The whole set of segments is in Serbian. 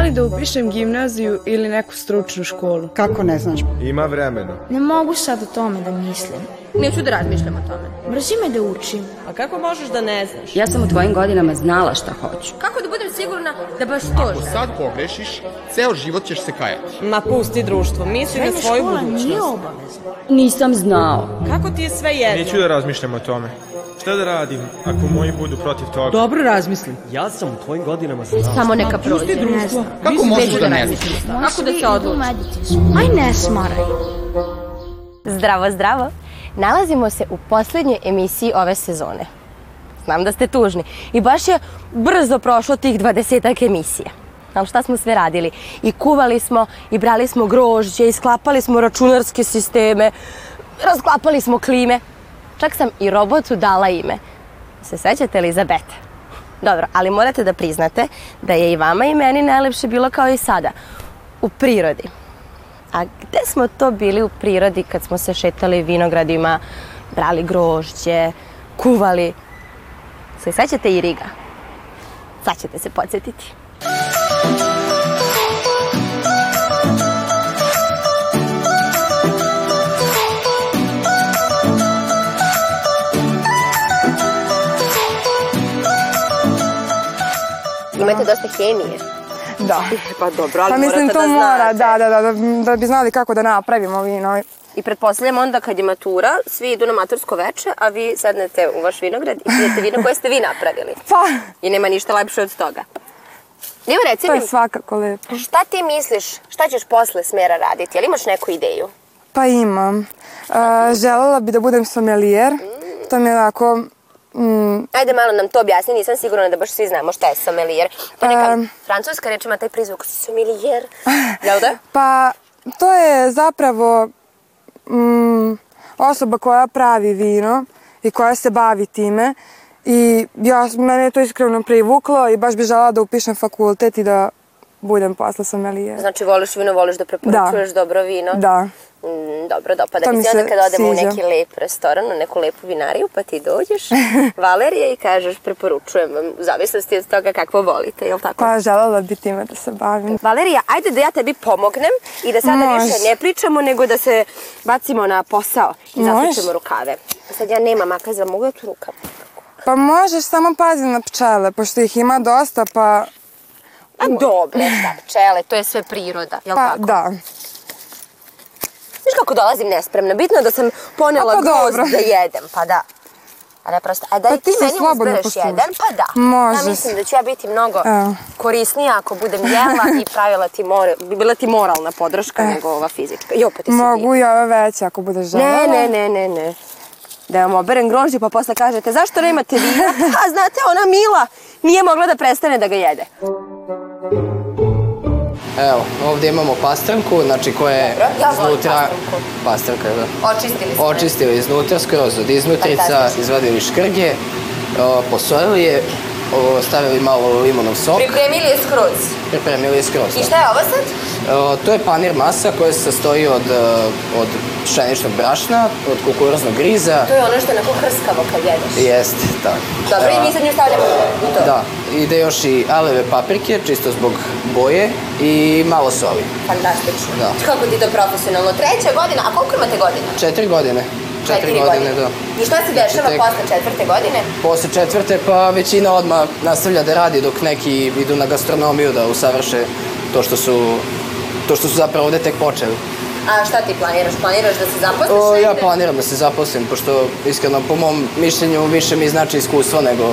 li da upišem gimnaziju ili neku stručnu školu? Kako ne znaš? Ima vremena. Ne mogu sad o tome da mislim. Neću da razmišljam o tome. Mrzi me da učim. A kako možeš da ne znaš? Ja sam u tvojim godinama znala šta hoću. Kako da budem sigurna da baš to Ako želim? sad pogrešiš, ceo život ćeš se kajati. Ma pusti društvo, misli na Srednja svoju škola nije budućnost. obavezna. Nisam znao. Kako ti je sve jedno? Neću da razmišljam o tome. Šta da radim ako moji budu protiv toga? Dobro razmisli. Ja sam u tvojim godinama znao. Samo neka prođe. društvo. Kako možeš da ne znaš? Kako da se odlučim? Aj ne smaraj. Zdravo, zdravo. Nalazimo se u poslednjoj emisiji ove sezone. Znam da ste tužni i baš je brzo prošlo tih 20 emisija. Ali šta smo sve radili? I kuvali smo, i brali smo grožđe, i sklapali smo računarske sisteme, rasklapali smo klime. Čak sam i robotu dala ime. Se sećate Elizabete? Dobro, ali morate da priznate da je i vama i meni najlepše bilo kao i sada. U prirodi. A gde smo to bili u prirodi kad smo se šetali vinogradima, brali grožđe, kuvali? Se sećate i Riga? Sad ćete se podsjetiti. Imate dosta hemije. Da. Pa dobro, ali Pa mislim morate to da mora, znate. da, da, da, da, da bi znali kako da napravimo vino. I pretpostavljam onda kad je matura, svi idu na matursko veče, a vi sednete u vaš vinograd i pijete vino koje ste vi napravili. Pa, I nema ništa lepše od toga. Evo reci to je mi, svakako lepo. šta ti misliš, šta ćeš posle smera raditi? Jel imaš neku ideju? Pa imam. Uh, želela bi da budem sommelier. To mi je onako... Mm, Ajde malo nam to objasni, nisam sigurna da baš svi znamo šta je sommelier. To je neka Em. francuska reč ima taj prizvuk sommelier. Jel da? pa, to je zapravo mm, osoba koja pravi vino i koja se bavi time. I ja, mene je to iskreno privuklo i baš bi želela da upišem fakultet i da budem posle sommelier. Znači voliš vino, voliš da preporučuješ da. dobro vino. Da. Mm, dobro, dopada To mi mi se onda se kada odemo u sviđa. neki lep restoran, u neku lepu vinariju, pa ti dođeš, Valerija, i kažeš preporučujem vam, u zavisnosti od toga kako volite, jel tako? Pa želela bi time da se bavim. Valerija, ajde da ja tebi pomognem i da sada Može. više ne pričamo, nego da se bacimo na posao i Može. zasučemo rukave. Sad ja nemam akaza, mogu ja tu rukav? Pa možeš samo pazi na pčele, pošto ih ima dosta, pa... A dobro, šta pčele, to je sve priroda, jel Pa, tako? da. Znaš kako dolazim nespremna, bitno je da sam ponela A pa groz dobro. da jedem, pa da. A ne prosto, a daj Pa ti se meni slobodno uzbereš posluži. jedan, pa da. Može. Ja mislim da ću ja biti mnogo Evo. korisnija ako budem jela i pravila ti more, bi bila ti moralna podrška nego ova fizička. Jo, pa ti si E. Mogu i ove veće ako budeš divna. želela. Ne, ne, ne, ne, ne. Da vam oberem grožđe pa posle kažete zašto nemate vina, a znate ona Mila nije mogla da prestane da ga jede. Evo, ovde imamo pastranku, znači koja je Dobro, ja volim iznutra... pastranku. Pastranka, da. Očistili smo. Očistili iznutra skroz od iznutrica, Fantastično. izvadili škrge, o, posolili je, o, stavili malo limonov sok, Pripremili je skroz. pripremili skroz. I šta je ovo sad? da. O, to je panir masa koja se sastoji od, e, od pšeničnog brašna, od kukuruznog griza. To je ono što je onako hrskavo kad jedeš. Jeste, tako. Dobro, i Da. mi sad nju stavljamo u to. Da, ide još i aleve paprike, čisto zbog boje i malo soli. Fantastično. Da. Kako ti to profesionalno? Treća godina, a koliko imate godina? Četiri godine. da. I šta se dešava Tek- posle četvrte godine? Posle četvrte pa većina odmah nastavlja da radi dok neki idu na gastronomiju da usavrše to što su to što su zapravo ovde tek počeli. A šta ti planiraš? Planiraš da se zaposliš? O, ja negde? planiram da se zaposlim, pošto iskreno po mom mišljenju više mi znači iskustvo nego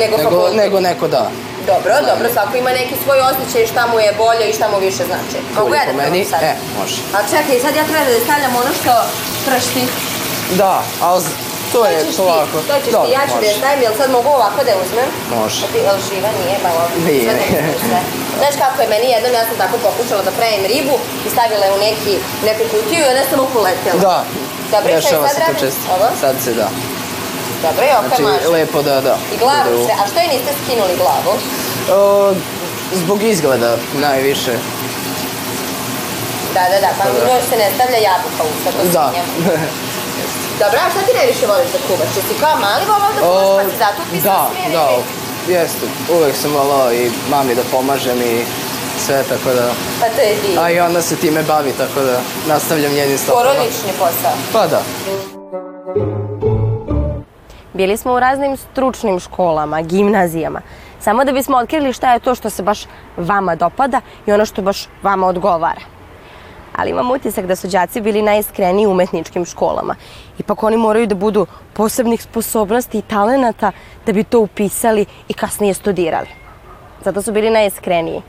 Nego nego, fakultet. nego neko da. Dobro, dobro, svako ima neki svoj osjećaj šta mu je bolje i šta mu više znači. Mogu Bolje ja po da probam meni, sad? e, može. A čekaj, sad ja treba da stavljam ono što pršti. Da, ali z- to Pa je ćeš ti, polako. To ćeš Dobro, ti, ja ću da je može. stavim, jel sad mogu ovako da je uzmem? Može. Pa ti, jel živa nije, ba ovo? Nije. Sve da uzmeš sve. Znaš kako je meni jednom, ja sam tako pokušala da pravim ribu i stavila je u neki, neku kutiju i onda sam okuletela. Da, Dobro, šta dešava je sad se to radim? često. Ovo? Sad se da. Dobro, i oka Znači, maže. lepo da, da. I glavu ide u- sve. A što je niste skinuli glavu? O, zbog izgleda najviše. Da, da, da, pa mi još se ne stavlja jabuka u sad Da. Dobro, a šta ti najviše voliš da kuvaš? Jesi kao mali volao da kuvaš, pa si zato upisao da, smjer da, ili- jeste. Uvek sam volao i mami da pomažem i sve, tako da... Pa to je divno. A i ona se time bavi, tako da nastavljam njenim stopama. Porodični posao. Pa da. Bili smo u raznim stručnim školama, gimnazijama, samo da bismo otkrili šta je to što se baš vama dopada i ono što baš vama odgovara. Ali imam utisak da su đaci bili najiskreniji u umetničkim školama. Ipak oni moraju da budu posebnih sposobnosti i talenata da bi to upisali i kasnije studirali. Zato su bili najiskreniji.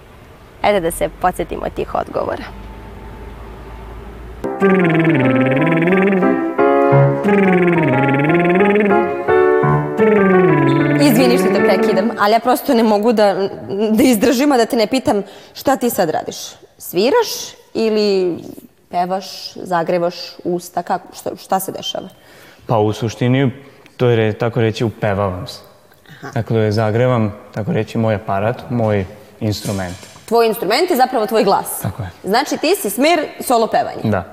Ajde da se podsjetimo tih odgovora. Izvini što te prekidam, ali ja prosto ne mogu da, da izdržim, a da te ne pitam šta ti sad radiš. Sviraš ili pevaš, zagrevaš usta, kako, šta, šta se dešava? Pa u suštini, to je re- tako reći upevavam se. Dakle, zagrevam, tako reći, moj aparat, moj instrument. Tvoj instrument je zapravo tvoj glas. Tako je. Mm. Znači ti si smer solo pevanje. Da,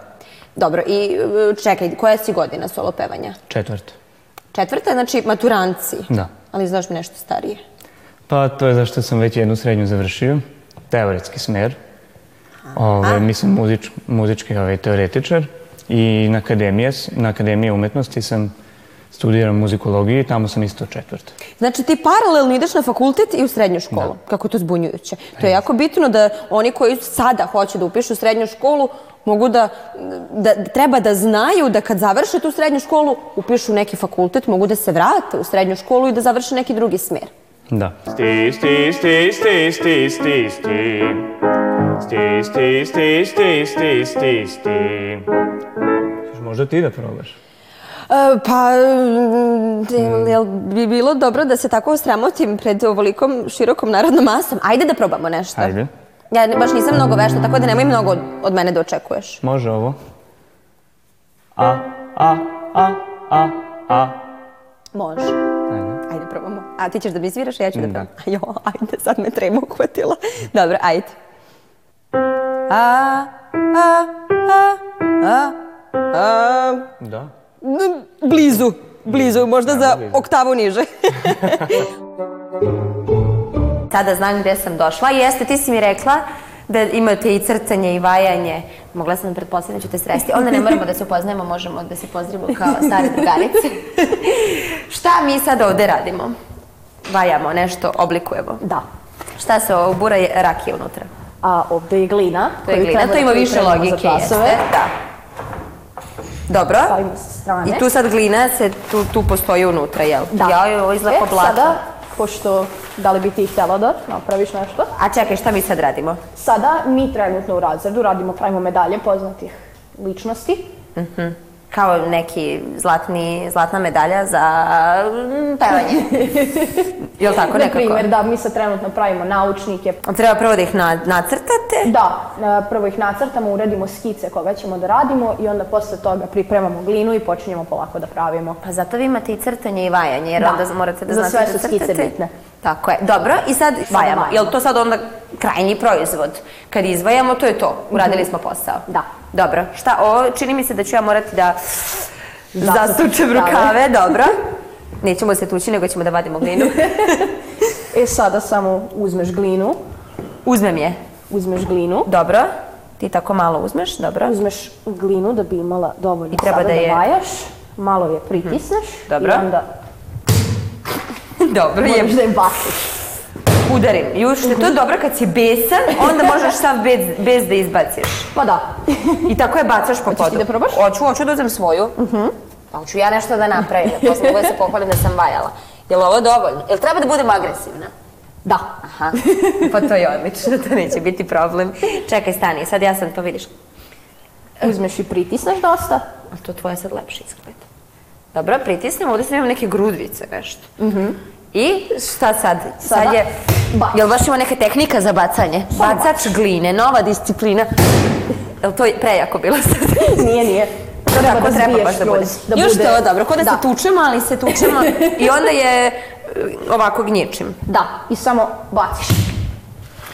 Dobro, i e, čekaj, koja si godina solo pevanja? četvrto. Četvrta, znači maturanci. Da. Ali znaš mi nešto starije. Pa to je zašto sam već jednu srednju završio, teoretski smer. Ove, mislim, muzič, muzički ovaj, teoretičar. I na, akademije, s- na Akademiji umetnosti sam studirao muzikologiju i tamo sam isto četvrto. Znači ti paralelno ideš na fakultet i u srednju školu. Kako je to zbunjujuće. To je jako bitno da oni koji sada hoće da upišu srednju školu mogu da, da, treba da znaju da kad završe tu srednju školu upišu neki fakultet, mogu da se vrate u srednju školu i da završe neki drugi smer. Da. Sti, sti, sti, sti, sti, sti, sti. Sti, sti, sti, sti, sti, sti, sti. Možda ti da probaš? E, pa, mm, jel- jel bi bilo dobro da se tako osramotim pred ovolikom širokom narodnom masom? Ajde da probamo nešto. Ajde. Ja ne- baš nisam mnogo vešta, tako da nemoj mnogo od, od mene da očekuješ. Može ovo. A, a, a, a, a. Može. Ajde. probamo. A ti ćeš da mi sviraš, ja ću da Da. probam. Jo, ajde, sad me trema uhvatila. Dobro, ajde. A, a, a, a, a. Da. N- Blizu, blizu, možda za oktavu niže. Sada znam gdje sam došla. Jeste, ti si mi rekla da imate i crtanje i vajanje. Mogla sam pretpostaviti da ćete sresti. Onda ne moramo da se upoznajemo, možemo da se pozdravimo kao stare drugarice. Šta mi sad ovdje radimo? Vajamo, nešto oblikujemo. Da. Šta se obura je rakija unutra? A ovdje je glina. To je glina, to ima više logike, jeste? Da. Dobro. I tu sad glina se tu, tu postoji unutra, jel? Da. Ja, ovo izgleda kao E, blato. Sada, pošto, da li bi ti htjela da napraviš nešto? A čekaj, šta mi sad radimo? Sada mi trenutno u razredu radimo, pravimo medalje poznatih ličnosti. Mhm. Kao neki zlatni, zlatna medalja za mm, pevanje. Jel tako nekako? Na primjer, da, mi sad trenutno pravimo naučnike. Treba prvo da ih na, nacrtate? Da, e, prvo ih nacrtamo, uredimo skice koje ćemo da radimo i onda posle toga pripremamo glinu i počinjemo polako da pravimo. Pa zato vi imate i crtanje i vajanje, jer Da. onda morate da Za znate sve da su skice crtate. bitne. Tako je. Dobro, i sad Sada vajamo. vajamo. Jel to sad onda krajnji proizvod? Kad izvajamo, to je to. Mhm. Uradili smo posao. Da. Dobro. Šta, ovo čini mi se da ću ja morati da zasučem rukave. Dobro. Nećemo se tući, nego ćemo da vadimo glinu. E sada samo uzmeš glinu. Uzmem je. Uzmeš glinu. Dobro. Ti tako malo uzmeš, dobro. Uzmeš glinu da bi imala dovoljno I treba sada da je- Mhm. vajaš. Malo je pritisneš. Dobro. I onda Dobro, je. moraš da je baciš. Udarim. Ju, što je to dobro kad si besan, onda možeš sav bez, bez da izbaciš. Pa da. I tako je bacaš po podu. Hoćeš ti da probaš? Hoću, hoću da uzem svoju. Pa hoću ja nešto da napravim, da posle mogu da se pohvalim da sam vajala. Jel ovo dovoljno? Jel treba da budem agresivna? Da. Aha, pa to je odlično, to neće biti problem. Čekaj, stani, sad ja sam to vidiš. Uzmeš i pritisneš dosta. A to tvoje sad lepše izgleda. Dobro, pritisnem, ovdje sam imam neke grudvice, nešto. I šta sad? Sad Mhm. Sada je... Jel baš ima neka tehnika za bacanje? Bacač gline, nova disciplina. Jel to je prejako bilo sad? Nije, nije. To Treba tako da treba zbiješ baš da skroz, bude. da Još bude- to, dobro, ko da, se Da. tučemo, ali se tučemo i onda je e, ovako gnjičim. Da, i samo baciš.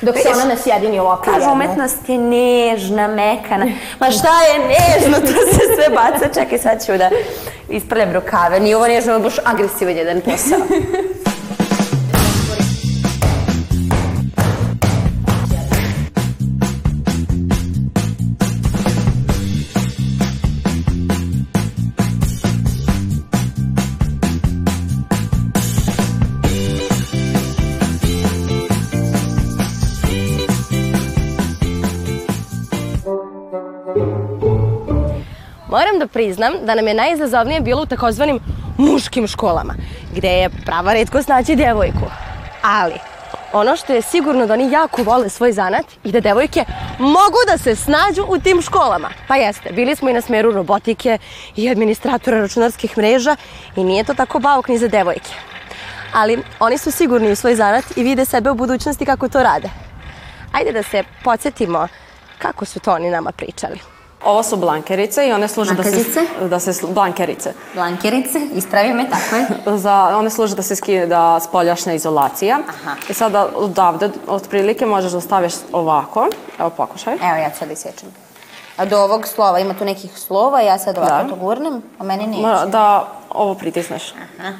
Dok se Vidiš? ona ne sjedini ovako Kažu, jedno. umetnost je nežna, mekana. Ma šta je nežno, to se sve baca. Čekaj, sad ću da isprljam rukave. Nije ovo nežno, ovo je baš agresivan jedan posao. Moram da priznam da nam je najizazovnije bilo u takozvanim muškim školama, gde je prava redkost naći djevojku. Ali, ono što je sigurno da oni jako vole svoj zanat i da devojke mogu da se snađu u tim školama. Pa jeste, bili smo i na smeru robotike i administratora računarskih mreža i nije to tako bauk ni za devojke. Ali oni su sigurni u svoj zanat i vide sebe u budućnosti kako to rade. Ajde da se podsjetimo kako su to oni nama pričali. Ovo su blankerice i one služe da se, Makazice? da se... sl- Blankerice. Blankerice, ispravi me, tako je. Za, one služe da se skida spoljašnja izolacija. I sada odavde, otprilike, možeš da staviš ovako. Evo pokušaj. Evo ja ću sad isječem. A do ovog slova, ima tu nekih slova, ja sad ovako to gurnem, a meni neće. Mora da ovo pritisneš.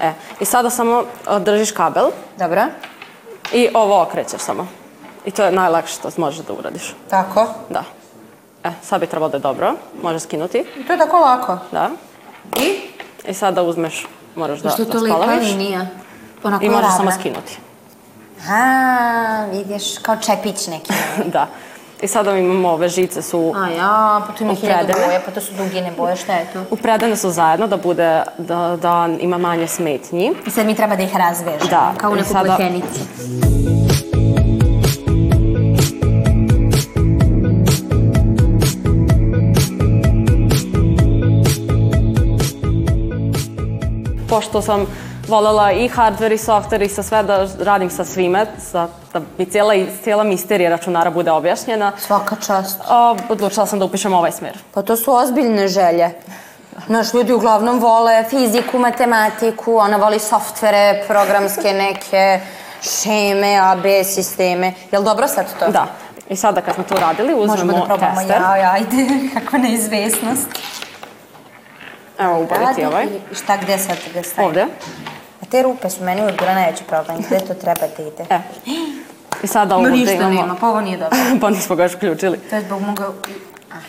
E, I sada samo e, držiš kabel. Dobro. I ovo okrećeš samo. I to je najlakše što možeš da uradiš. Tako? Da. E, sad bi trebalo da je dobro. Možeš skinuti. To je tako lako. Da. I? I sada uzmeš, moraš da, Što da to lijepa spalaviš. linija? Onako I možeš ravna. samo skinuti. A, vidiš, kao čepić neki. da. I sada imamo ove žice su A ja, pa tu ima hiljadu Ukradene. boja, pa to su dugine boje, šta je to? upredane su zajedno da bude, da, da ima manje smetnji. I sad mi treba da ih razvežemo, Da, kao u i neku sada- plekenicu. Pošto sam voljela i hardware i software i sa sve da radim sa svime, sa, da mi cijela, cijela misterija računara bude objašnjena. Svaka čast. odlučila sam da upišem ovaj smjer. Pa to su ozbiljne želje. Naš ljudi uglavnom vole fiziku, matematiku, ona voli softvere, programske neke, šeme, AB sisteme. Jel dobro sad to? Da. I sada kad smo to radili, uzmemo Možemo da probamo tester. jao, ajde, kakva neizvesnost. Evo, ubaviti Radi ovaj. i Šta, gde sad ga stavim? Ovde. A te rupe su meni uvijek bila najveći problem, gde to treba da ide? E. I sada ovo Ma da ništa imamo- nema, pa ovo nije dobro. pa nismo ga još uključili. To je zbog moga...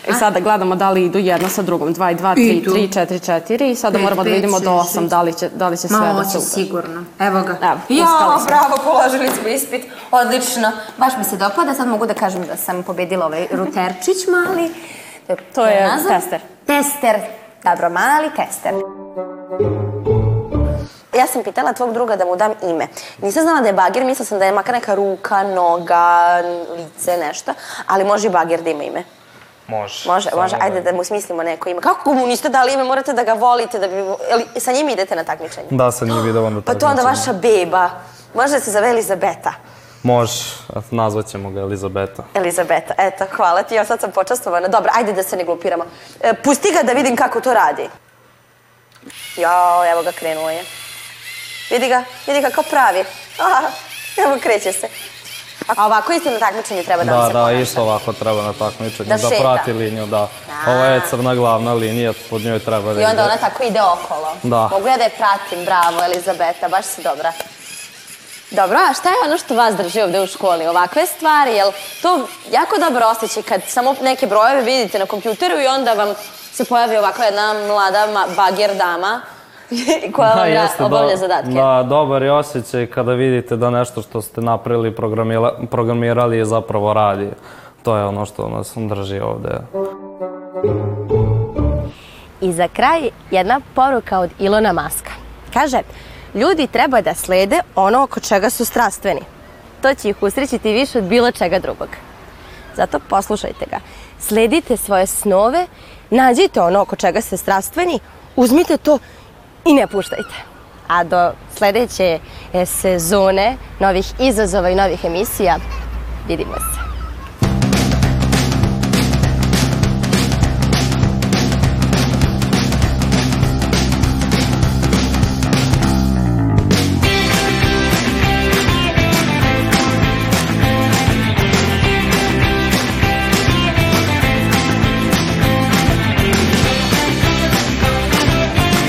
I sada gledamo da li idu jedna sa drugom, 2 i 2, Idu. 3, 3, 4, 4 i sada Pet, moramo da pet, vidimo do šest, 8 da li će, da li će sve Ma, da se hoće ukaže. sigurno. Evo ga. Evo, Ja, uspeli smo. bravo, položili smo ispit. Odlično. Baš mi se dopada. Sad mogu da kažem da sam pobedila ovaj ruterčić mali. To je, To je nazad. tester. Tester. Dobro, mali tester. Ja sam pitala tvog druga da mu dam ime. Nisam znala da je bagir, mislila sam da je makar neka ruka, noga, lice, nešto. Ali može i bagir da ima ime. Može. Može, Samo ovaj. može. Ajde da mu smislimo neko ime. Kako mu niste dali ime? Morate da ga volite. Da bi... Jel sa njim idete na takmičenje? Da, sad ono njih idemo na Pa to onda takmičenje. vaša beba. Može da se zove Elizabeta. Može, nazvat ćemo ga Elizabeta. Elizabeta, eto, hvala ti, ja sad sam počastovana. Dobro, ajde da se ne glupiramo. E, pusti ga da vidim kako to radi. Jao, evo ga, krenuo je. Vidi ga, vidi ga kao pravi. Aha, evo, kreće se. A ovako isto na takmičenju treba da, vam Da, se da, ponaša. isto ovako treba na takmičenju, Da da, šeta. prati liniju, da. Ovo je crna glavna linija, pod njoj treba da I onda ide. ona tako ide okolo. Da. Mogu ja da je pratim, bravo Elizabeta, baš si dobra. Dobro, a šta je ono što vas drži ovde u školi? Ovakve stvari, jel to jako dobro osjećaj kad samo neke brojeve vidite na kompjuteru i onda vam se pojavi ovako jedna mlada ma- bager dama koja Da, vam ra- jeste, obavlja do- zadatke. Da, dobar je osjećaj kada vidite da nešto što ste napravili, programila- programirali je zapravo radi. To je ono što nas drži ovdje. I za kraj jedna poruka od Ilona Maska. Kaže, ljudi treba da slede ono oko čega su strastveni. To će ih usrećiti više od bilo čega drugog. Zato poslušajte ga. Sledite svoje snove, nađite ono oko čega ste strastveni, uzmite to i ne puštajte. A do sledeće e, sezone novih izazova i novih emisija vidimo se.